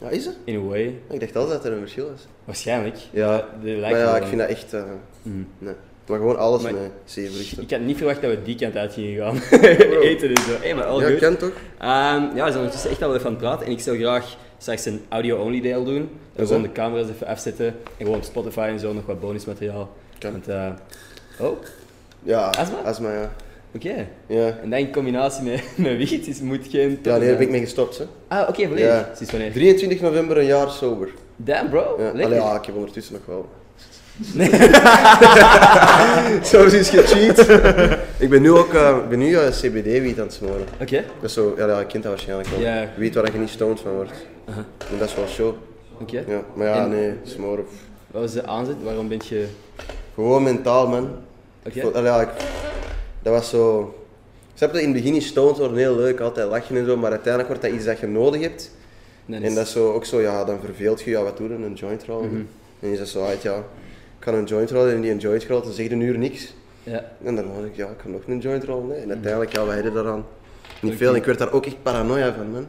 Ja, is het? In a way. Ik dacht altijd dat er een verschil was. Waarschijnlijk. Ja, Die maar lijken wel ja, ik dan. vind dat echt... eh, Mm. nee. Maar gewoon alles Maar- met zeevruchten. Ik had niet verwacht dat we die kant uit gingen gaan. Eten en zo. Hey, maar al Ja, goed. kan toch? Ehm, ja, we zijn ondertussen echt al wel even aan het praten. En ik zou graag straks een audio-only deel doen. Dat we Oké. gewoon de camera's even afzetten. En gewoon op Spotify en zo nog wat bonusmateriaal. Kan. Want, eh, Oh, oké. Ja, Astma? astma, ja. Ja, En dat in combinatie met, met wiet is, moet geen... ja nee, daar ben ik mee gestopt, hè. Ah, oké, volledig. Ja. Sinds wanneer? 23 november, een jaar sober. Damn, bro. Ja, Lekker. allee, ja, ik heb ondertussen nog wel. Soms is gecheat. ik ben nu ook eh, ik ben nu eh, CBD-wiet aan het smoren. Oké. Dat is zo, ja, ja, je kent dat waarschijnlijk wel. Ja. Wiet waar je niet stoned van wordt. En dat is wel show. Oké. Ja, maar ja, En- nee, smoren. pff. Wat was de aanzet? Waarom ben je... Gewoon mentaal, man. Oké. Ik vond- allee, ja, ik- dat was zo. Snap je, in het begin is stoned worden heel leuk, altijd lachen en zo, maar uiteindelijk wordt dat iets dat je nodig hebt. Nee, En dat is zo, ook zo, ja, dan verveelt je, ja, wat doen een joint rollen. Mhm. En je zegt zo, uit, ja, ik ga een joint rollen en die een joint rolt, dan zegt een uur niks. Ja. En dan hoor ik, ja, ik kan nog een joint rollen. Mhm. hè. En uiteindelijk, ja, wij hadden daaraan niet Oké. veel. En ik werd daar ook echt paranoia van, man.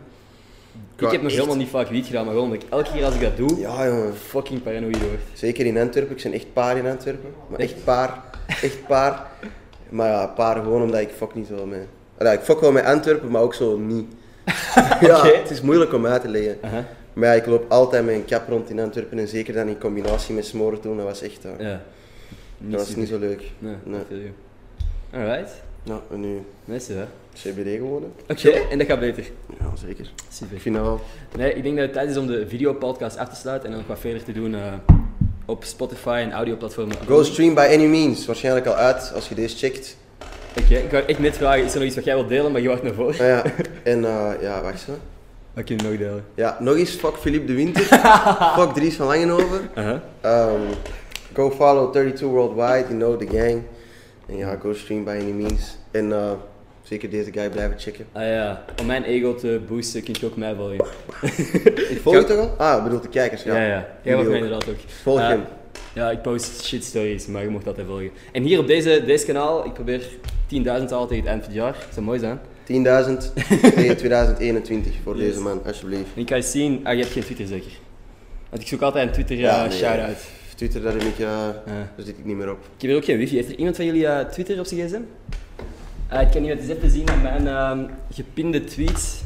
Qua Ik heb nog echt- helemaal niet vaak wiet gedaan, maar gewoon omdat ik elke keer als ik dat doe, Ja, jongen. fucking paranoïde word. Zeker in Antwerpen, ik ben echt paar in Antwerpen. Maar echt paar, echt paar. Maar ja, paar gewoon omdat ik fuck niet wel mee. Ja, ik fuck wel met Antwerpen, maar ook zo niet. ja, Oké. het is moeilijk om uit te leggen. Aha. Maar ja, ik loop altijd met een cap rond in Antwerpen en zeker dan in combinatie met smoren toen, dat was echt... eh, Ja. dat was niet zo leuk. Nee, Nee. I feel you. Alright. Nou, en nu Nice, hè? CBD gewonnen. Oké, en dat gaat beter. Ja, zeker. Ik Super. vind dat wel... Nee, ik denk dat het tijd is om de videopodcast af te sluiten en dan nog wat verder te doen eh, op Spotify en audioplatformen. Go stream by any means. Waarschijnlijk al uit als je deze checkt. Oké, ik wou echt net vragen, is er nog iets wat jij wilt delen, maar je wacht naar voren. Ah, ja. En eh, ja, wacht zo. Wat kun je nog delen? Ja, nog eens fuck Philippe de Winter. fuck Dries van Langenhoven. Aha. Ehm, go follow 32 Worldwide, you know the gang. En ja, go stream by any means. En eh, zeker deze guy blijven checken. Ah ja, om mijn ego te boosten kun je ook mij volgen. Ik volg je toch al? Ah, ik bedoel de kijkers, ja. Ja, ja. Jij Jullie mag mij ook. inderdaad ook. Volg Eh, hem. Ja, ik post shit stories, maar je mocht altijd volgen. En hier op deze, deze kanaal, ik probeer 10.000 te halen tegen het eind van het jaar. Dat zou mooi zijn. 10.000 tegen 2021 voor Yes. deze man, alsjeblieft. En ik kan je zien, ah, je hebt geen Twitter zeker? Want ik zoek altijd een Twitter eh, Ja, nee, shout-out. Ah. Twitter, daar, heb ik, eh, daar zit ik niet meer op. Ik heb hier ook geen wifi. Heeft er iemand van jullie eh, Twitter op zijn gsm? Ah, ik kan niet, het is even zien aan mijn ehm, gepinde tweets.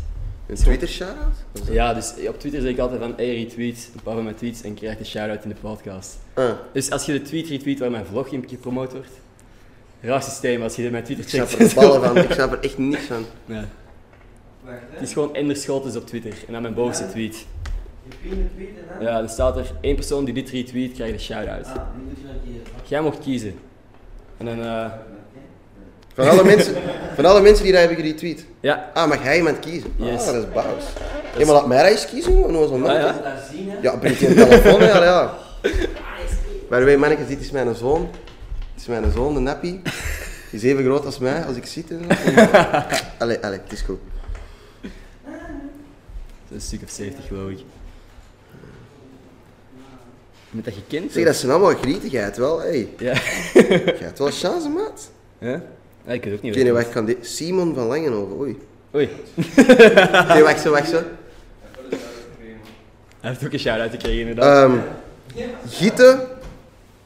Een Twitter shout-out? Ja, dus op Twitter zeg ik altijd van, hey, retweet een paar van mijn tweets en krijg een shout-out in de podcast. Ah, Dus als je de tweet retweet waar mijn vlog in gepromoot wordt, raar systeem als je de- mijn Twitter ik snap checkt. er ballen van, ik snap er echt niks van. Nee. Het is gewoon Ender Scholtes op Twitter en dan mijn bovenste tweet. Ja, dan staat er één persoon die dit retweet krijgt een shout-out. Jij mocht kiezen. En dan, eh, Van alle mensen, Van alle mensen die dat hebben geretweet. Ja. Ah, mag hij iemand kiezen? Yes. Ah, dat is baas. Ja, maar laat mij dat eens kiezen, jongen. Hoe is dat Ah, ja. mogelijk? Ja, brengt hij een telefoon, ja, ja. By the way, mannetjes, dit is mijn zoon. Dit is mijn zoon, de nappie. Die is even groot als mij, als ik zit. en zo. Allee, allee, het is goed. Dat is een stuk of 70 geloof ik. Met dat gekend? Zeg, dat zijn allemaal grietigheid wel, hé. Ja. Jij hebt wel chance, maat. Huh? Ja, ik weet het ook niet. Ik weet niet wat ik kan dit... Simon van Langenhoven, oei. Oei. Nee, wacht zo, wacht zo. Hij heeft ook een shout-out gekregen inderdaad. Ehm Gieten,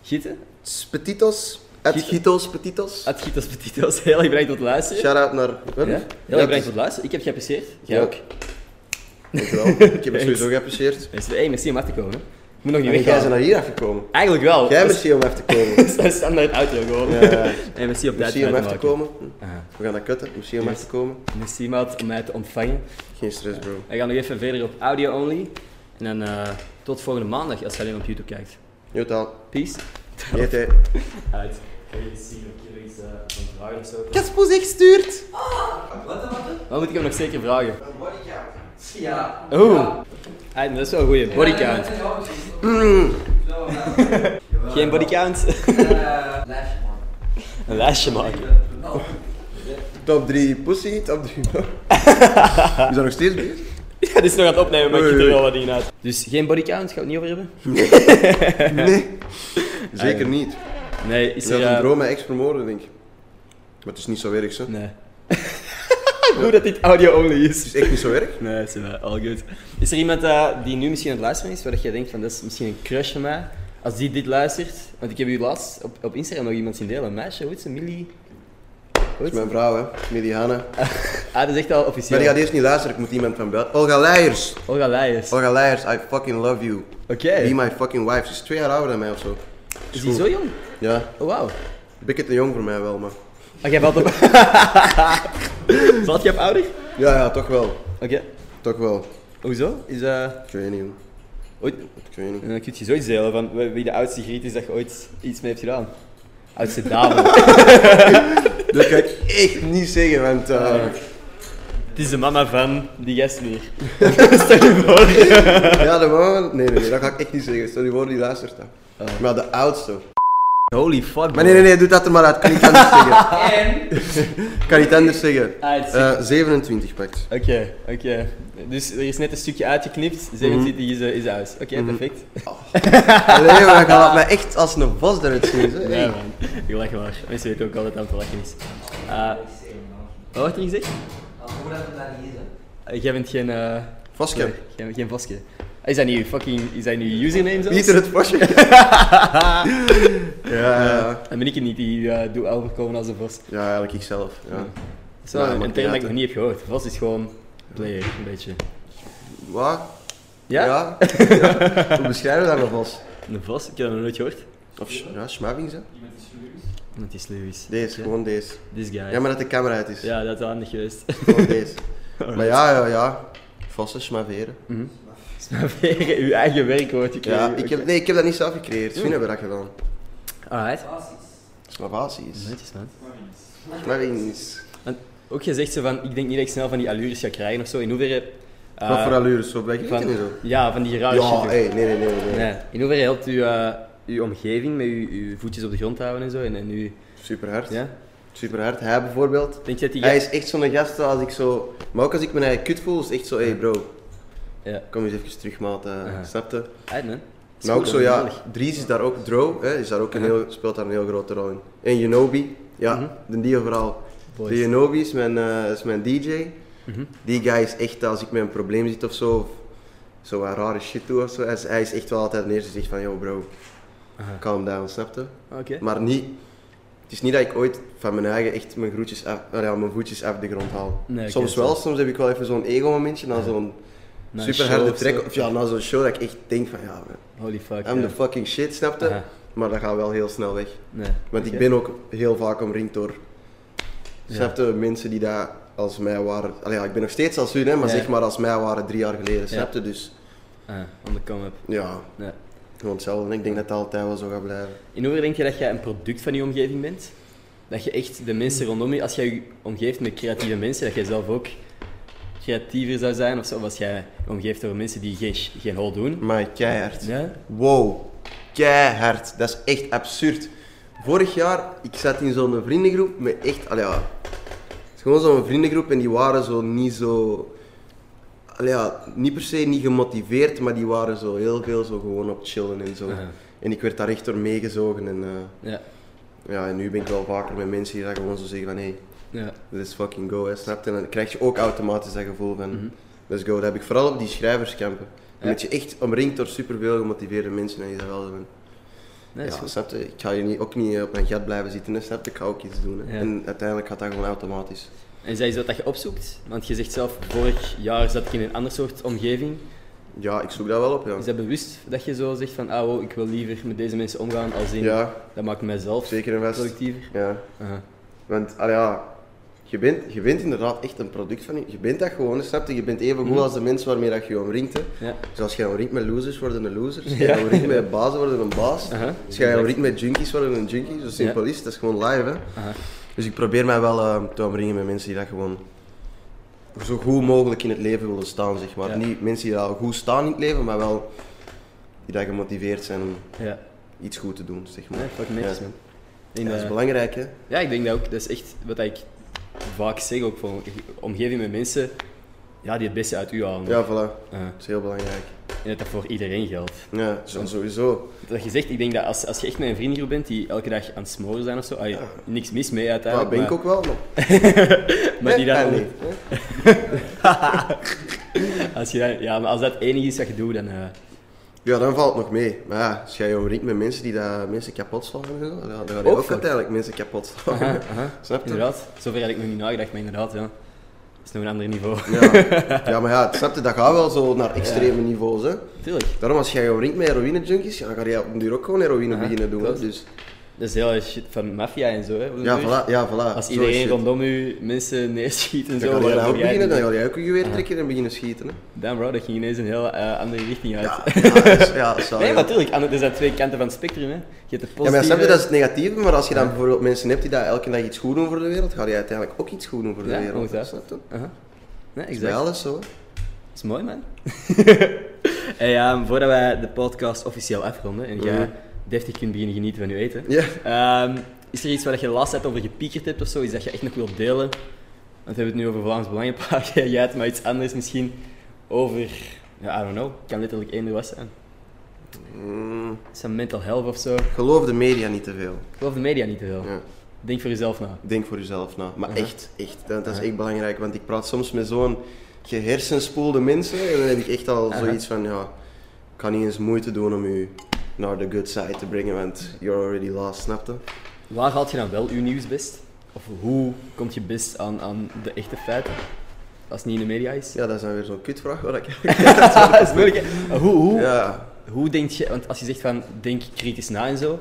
Gieten? Petitos, Ed Gieten. Gitos, Petitos. Ad Gitas Petitos, heel erg bedankt tot luisteren. Shout-out naar Ja? Wurf. Heel erg bedankt tot luisteren. Ik heb geapprecieerd. Jij dus- Ja. ook. Dankjewel. Ik heb het sowieso geapprecieerd. Mensen, hey, merci om af te komen. hè. Ik moet nog niet En Ah, jij weggaan. bent naar hier afgekomen. Eigenlijk wel. Jij Dat is- merci om even te komen. Dat is standaard outro gewoon. Ja, ja. En merci op tijd Merci om mij even te maken. komen. Aha. We gaan dat kutten. Merci om Yes. even te komen. Merci maat om mij te ontvangen. Geen stress, bro. Wij gaan nog even verder op audio only. En dan eh, tot volgende maandag als je alleen op YouTube kijkt. Jotaal. Peace. JT. Uit. Kan je zien of je er iets eh, van vragen of zo? Kaspoes echt stuurt. Wat moet ik hem nog zeker vragen? Ja. Oeh. Hey, dat is wel een goeie. Bodycount. Geen bodycount? Een lijstje maken. Top 3 pussy, top 3 no. Is dat nog steeds bezig? Ja, dit is nog aan het opnemen, maar ik Oei, kiet er oei. wel wat dingen uit. Dus geen bodycount, gaan we het niet over hebben? Nee. Zeker niet. Nee, Eh, is Ik er... had eh, een droom mijn ex vermoorden, denk ik. Maar het is niet zo erg, zo. Het Nee. Goed dat dit audio only is. is echt niet zo erg. Nee, het is wel all good. Is er iemand eh, die nu misschien aan het luisteren is, waar dat jij denkt van dat is misschien een crush van mij? Als die dit luistert, want ik heb u laatst op, op Instagram nog iemand zien delen, een meisje, hoe heet ze? Millie? Hoe heet Dat is ze? mijn vrouw, hè. Mediane. Ah, dat is echt al Maar die officieel. gaat eerst niet luisteren, ik moet iemand van buiten. Olga Leijers! Olga Leijers. Olga Leijers, I fucking love you. Oké. Be my fucking wife. Ze is twee jaar ouder dan mij of zo. Is die zo jong? Ja. Oh, wauw. Bikke te jong voor mij wel, maar... Ah, jij valt op... Valt je op ouder? Ja, ja, toch wel. Oké. Toch wel. Hoezo? Is eh Ik weet niet, man. ooit... Ik weet niet. En dan kun je zoiets delen van wie wie de oudste griet is dat je ooit iets mee hebt gedaan. Oudste dame. Dat kan ik echt niet zeggen, want... eh, Het is de mama van die gast hier. Stel je voor. ja, de man... Nee, nee, nee, dat ga ik echt niet zeggen. Sorry voor die luistert dat. Maar de oudste. Holy fuck. Maar nee, nee, nee, doe dat er maar uit. Ik kan niet anders zeggen. Ik kan niet anders zeggen. Ah, het is- Eh, 27 pakt. Oké, oké. Dus er is net een stukje uitgeknipt. 27 is, eh, is uit. Oké, perfect. Allee, maar dat laat mij echt als een vos eruit zien. Zo. Ja, man. Ik lach maar. Mensen weten ook altijd dat het aan het lachen is. Eh, wat wordt er gezegd? Eh, Jij bent geen... eh Voske. nee, Geen, geen Voske. Is dat nu fucking... Is dat nu username zelfs? Pieter het vosje. ja, ja. Dan ben ik het niet die eh, doe overkomen als een Vos. Dat Ja, eigenlijk ikzelf. Ja. is wel Ja, een maakt term dat niet ik uit, nog hè. niet heb gehoord. Vos is gewoon... Player, een beetje. Wat? Ja? Ja. Hoe beschrijven we dat een vos? Een Vos? Ik heb dat nog nooit gehoord. Of sch- ja, schmuiving, hè? Want die is Lewis. Deze, gewoon deze. This guy. Ja, maar dat de camera uit is. Ja, dat is handig geweest. Gewoon deze. Maar ja, ja, ja. Vossen schmaveren. Smaveren, uw eigen werkwoord. Ik Mhm. Ja, ik heb, nee, ik heb dat niet zelf gecreëerd. Toen hebben we dat gedaan. Alright. Slavaties. Netjes, man. Schmavings. En ook gezegd zo van, ik denk niet dat ik snel van die allures ga krijgen of zo. In hoeverre... eh, Wat voor allure, zo blijkt van- het niet zo. Ja, van die rare Ja, shit. hé, nee, nee, nee. nee. Nee. In hoeverre helpt u eh, uw omgeving met uw, uw voetjes op de grond houden en zo? En, en uw... Super hard. Ja? Super hard. Hij bijvoorbeeld. Denk je dat die... Hij is echt zo'n gast dat als ik zo. Maar ook als ik mijn eigen kut voel, is het echt zo, hé hey bro, Ja. kom eens even terug, maat. eh, Ja. Snap je? Uit, man. Is Maar ook goed, zo, dat is ja, nodig. Dries is daar ook, Dro, hè, is daar ook een Ja. heel, speelt daar een heel grote rol in. En Janobi, ja, de die overal. Mhm. Boys. Mhm. De Janobi is mijn, eh, is mijn DJ. Die guy is echt, als ik met een probleem zit of zo, of zo wat rare shit doe of zo, hij is, hij is echt wel altijd de eerste die zegt van, yo bro, calm down, snap je? Oké. Maar niet, het is niet dat ik ooit van mijn eigen echt mijn, groetjes af, nou ja, mijn voetjes af de grond haal. Nee, ik soms ken het wel, wel. soms heb ik wel even zo'n ego-momentje na zo'n Na een super show harde of zo. track, of ja, na zo'n show dat ik echt denk van, ja man. Holy fuck. I'm ja. the fucking shit, snapte? Aha. Maar dat gaat wel heel snel weg. Nee. Want Oké. ik ben ook heel vaak omringd door, snapte, mensen die daar als mij waren. Allee, ja, ik ben nog steeds als hun, hè, maar Ja. zeg maar als mij waren drie jaar geleden, snapte? Dus Ah, on the come-up. ja, Nee. gewoon hetzelfde. Ik denk dat het altijd wel zo gaat blijven. In hoeverre denk je dat jij een product van je omgeving bent? dat je echt de mensen rondom je, als jij je omgeeft met creatieve mensen, dat jij zelf ook creatiever zou zijn of zo. Of als jij je omgeeft door mensen die geen, sh- geen hol doen. Maar keihard. Ja? Wow, keihard. Dat is echt absurd. Vorig jaar, ik zat in zo'n vriendengroep met echt, allee, ja, het is gewoon zo'n vriendengroep en die waren zo niet zo, allee, ja, niet per se niet gemotiveerd, maar die waren zo heel veel zo gewoon op chillen en zo. Aha. En ik werd daar echt door meegezogen en eh, Ja. ja, en nu ben ik wel vaker met mensen die dat gewoon zo zeggen van hé, hey, Ja. let's fucking go, hè, snap je? En dan krijg je ook automatisch dat gevoel van let's go. Dat heb ik vooral op die schrijverskampen. Mhm. Dan Ja. ben je echt omringd door superveel gemotiveerde mensen en je zegt wel zo van, Nee, dat is ja, goed. snap je? Ik ga hier niet, ook niet op mijn gat blijven zitten, hè, snap je? Ik ga ook iets doen. hè. Ja. En uiteindelijk gaat dat gewoon automatisch. En is dat iets wat dat je opzoekt? Want je zegt zelf, vorig jaar zat ik in een ander soort omgeving. Ja, ik zoek dat wel op, ja. Is dat bewust dat je zo zegt van, ah wow, ik wil liever met deze mensen omgaan als in, Ja, dat maakt mijzelf zeker en vast. productiever? Ja. Aha. Want, allee, ja, je bent, je bent inderdaad echt een product van je. Je bent dat gewoon, hè, snap je? Je bent even goed als de mensen waarmee dat je je omringt. Hè. Mhm. Ja. Dus als jij omringt met losers, worden een losers. Als Ja. jij omringt met bazen, worden een baas. Aha. Als jij omringt met junkies, worden een junkie. Zo simpel is het. Dat is gewoon live, hè. Aha. Dus ik probeer mij wel eh, te omringen met mensen die dat gewoon zo goed mogelijk in het leven willen staan, zeg maar. Ja. Niet mensen die dat al goed staan in het leven, maar wel die dat gemotiveerd zijn om Ja. iets goed te doen, zeg maar. Nee, fuck netjes, man. Ja, In, dat is eh, belangrijk, hè. Ja, ik denk dat ook. Dat is echt wat ik vaak zeg ook van omgeving met mensen ja, die het beste uit u halen. Ja, voilà. Eh, Dat is heel belangrijk. en dat dat voor iedereen geldt. Ja, dat is Dus dan sowieso. Dat je zegt, ik denk dat als, als je echt met een vriendengroep bent die elke dag aan het smoren zijn of zo, ah, Ja. niks mis mee Ja, uiteindelijk. ben ik maar, ook wel, maar... maar die Eh, dan, nee. als je dan, ja, maar als dat het enige is dat je doet, dan. eh, Ja, dan valt het nog mee. Maar ja, als jij je omringt met mensen die dat mensen kapot slaan en zo, dan dan ga je Ook ook, fuck. uiteindelijk mensen kapot slaan. aha, aha. Snap je? Inderdaad, zover had ik nog niet nagedacht, maar inderdaad, ja. Dat is nog een ander niveau. Ja. ja, maar ja, snap je, dat gaat wel zo naar extreme niveaus, hè. Tuurlijk, Daarom, als jij je omringt met heroïne-junkies, ja, dan ga jij op den duur ook gewoon heroïne Aha, beginnen doen. hè. klopt. Dus, dat is heel shit van maffia en zo. Hè, op de ja, duur. voilà, ja, voilà. Als Zo is iedereen shit. rondom u mensen neerschiet en Dan zo. ga jij dat waarom ook jij beginnen, niet? dan ga jij ook je geweer trekken en beginnen schieten. Hè. Damn bro, dat ging ineens een heel eh, andere richting uit. Ja, ja, dat is- ja, dat is wel- nee, ja. maar tuurlijk, aan- er zijn twee kanten van het spectrum. Hè. Je hebt de Ja, positieve... maar snap je, dat is het negatieve, maar als je dan bijvoorbeeld mensen hebt die dat elke dag iets goed doen voor de wereld, ga je uiteindelijk ook iets goed doen voor de Ja, wereld. ongetwijfeld. Snap je? Dat Aha. Nee, is exact. bij alles zo. hè. Dat is mooi, man. hey, ehm, voordat wij de podcast officieel afronden en jij Mhm. deftig kunt beginnen genieten van je eten, Ja. ehm, is er iets waar je last hebt over gepiekerd hebt of zo? Iets dat je echt nog wilt delen? Want we hebben het nu over Vlaams Belangenpaar, jij hebt maar iets anders misschien over... Ja, I don't know. Het kan letterlijk één was zijn. Mm, Het is een mental health of zo. geloof de media niet te veel. Ik geloof de media niet te veel. Ja. Denk voor jezelf na. Denk voor jezelf na. Maar Aha. echt, echt. Dat, dat is Aha. echt belangrijk, want ik praat soms met zo'n gehersenspoelde mensen en dan heb ik echt al Aha. zoiets van, ja, ik kan niet eens moeite doen om u naar de good side te brengen, want you're already lost, snapte? Waar haalt je dan wel je nieuws best? Of hoe komt je best aan, aan de echte feiten? Als het niet in de media is. Ja, dat is dan weer zo'n kutvraag waar ik... dat is moeilijk. hè? Maar Hoe, hoe, ja. hoe denk je, want als je zegt van denk kritisch na en zo.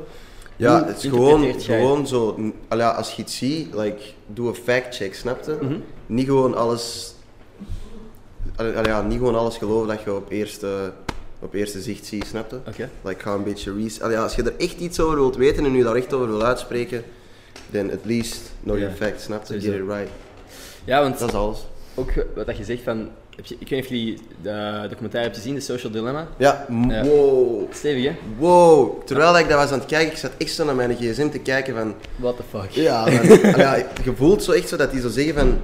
Ja, hoe het is interpreteert gewoon, jij- gewoon zo. n- al ja, als je iets ziet, like, doe een fact-check, snapte? Mhm. Niet gewoon alles. al- al ja, niet gewoon alles geloven dat je op eerste, op eerste zicht ziet, snapte? Oké. Like, ga een beetje research. al ja, als je er echt iets over wilt weten en je daar echt over wilt uitspreken, then at least know your Ja, facts, snapte? Get sowieso. it right. Ja, want Dat is alles. ook wat dat je zegt van, heb je, ik weet niet of jullie de documentaire hebben gezien, de Social Dilemma. Ja, m- Ja. wow. Stevig hè? Wow, terwijl ik dat was aan het kijken, ik zat echt zo naar mijn gsm te kijken van... What the fuck. Ja, maar, ja, je voelt zo echt zo dat die zo zeggen van...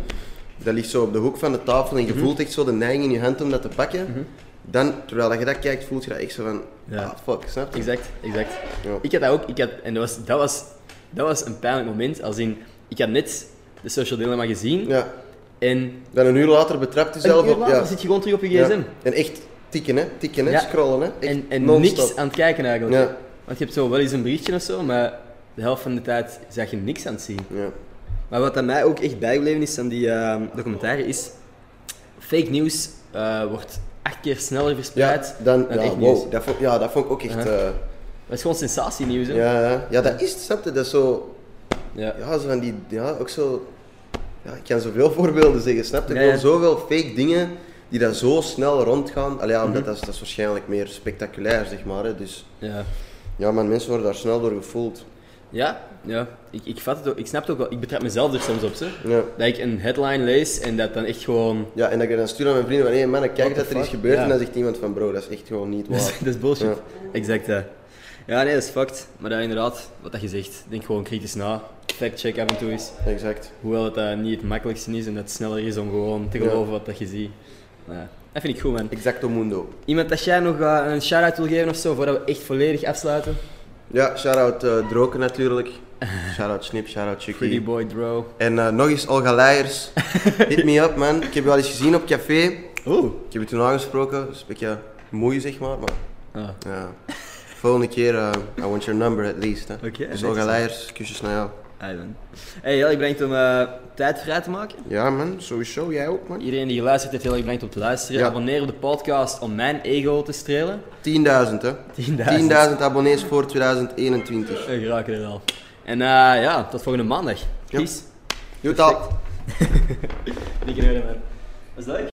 Dat ligt zo op de hoek van de tafel en Mhm. je voelt echt zo de neiging in je hand om dat te pakken. Dan, terwijl je dat kijkt, voelt je dat echt zo van... Ja. Ah, fuck, snap je? Exact, exact. Ja. Ik had dat ook, ik had, en dat was, dat, was, dat was een pijnlijk moment. Als in, ik had net de Social Dilemma gezien Ja. en Dan een uur later betrapt je een zelf uur op... later Ja. zit je gewoon terug op je Ja. gsm. En echt tikken, hè. Tikken, hè. Ja. Scrollen, hè. Echt En, en non-stop. niks aan het kijken eigenlijk. Ja. Want je hebt zo wel eens een berichtje of zo, maar de helft van de tijd zag je niks aan het zien. Ja. Maar wat aan mij ook echt bijgebleven is aan die eh, documentaire is... Fake nieuws eh, wordt acht keer sneller Ja, verspreid dan, ja, echt nieuws. Uh-huh. wow, dat vond, ja, dat vond ik ook echt... Ja. eh, Dat is gewoon sensatienieuws, hè? ja, ja. ja, dat is het, snap je? Dat is zo... Ja. Ja, zo van die, ja, ook zo. Ja, ik kan zoveel voorbeelden zeggen, snap je? Ja, Gewoon ja. zoveel fake dingen die dan zo snel rondgaan. Allee, ja, Mhm. omdat dat, is, dat is waarschijnlijk meer spectaculair, zeg maar. Hè. Dus Ja. ja, man, mensen worden daar snel door gevoeld. Ja, ja. Ik, ik vat het ook, ik snap het ook wel. Ik betrap mezelf er soms op, ze. Ja. Dat ik een headline lees en dat dan echt gewoon... Ja, en dat ik dan stuur aan mijn vrienden van, hé mannen, kijk What the dat er is fuck? gebeurd. Ja. En dan zegt iemand van, bro, dat is echt gewoon niet Dat is, waar. dat is bullshit. Ja. Exact, ja. Ja, nee, dat is fucked. Maar dat inderdaad, wat dat je zegt, denk gewoon kritisch na. Fact-check af en toe is. exact. Hoewel het eh, niet het makkelijkste is en dat het sneller is om gewoon te Ja. geloven wat dat je ziet. Nou, ja, dat vind ik goed, man. Exacto mundo. Iemand dat jij nog eh, een shout-out wil geven of zo, voordat we echt volledig afsluiten? Ja, shout-out eh, Droken natuurlijk. Shout-out Snip, shout-out Pretty Chucky. boy, bro. En eh, nog eens Olga Leijers. Hit me up, man. Ik heb je al eens gezien op café. Oeh. Ik heb je toen aangesproken. Dat is een beetje moeie, zeg maar. maar Ah, ja. Volgende keer, eh, I want your number at least. Hè. Oké, dus net Olga zo. Leijers, kusjes naar jou. hi, man. Hey, heel erg bedankt om eh, tijd vrij te maken. Ja, man. Sowieso. Jij ook, man. 10.000. Iedereen die geluisterd heeft, heel erg bedankt om te luisteren. Ja. Abonneer op de podcast om mijn ego te strelen. 10.000. hè. 10.000 abonnees voor 2021. We geraken er al. En eh, ja, tot volgende maandag. Peace. Doe het al. Dikke deuren, man. Was leuk?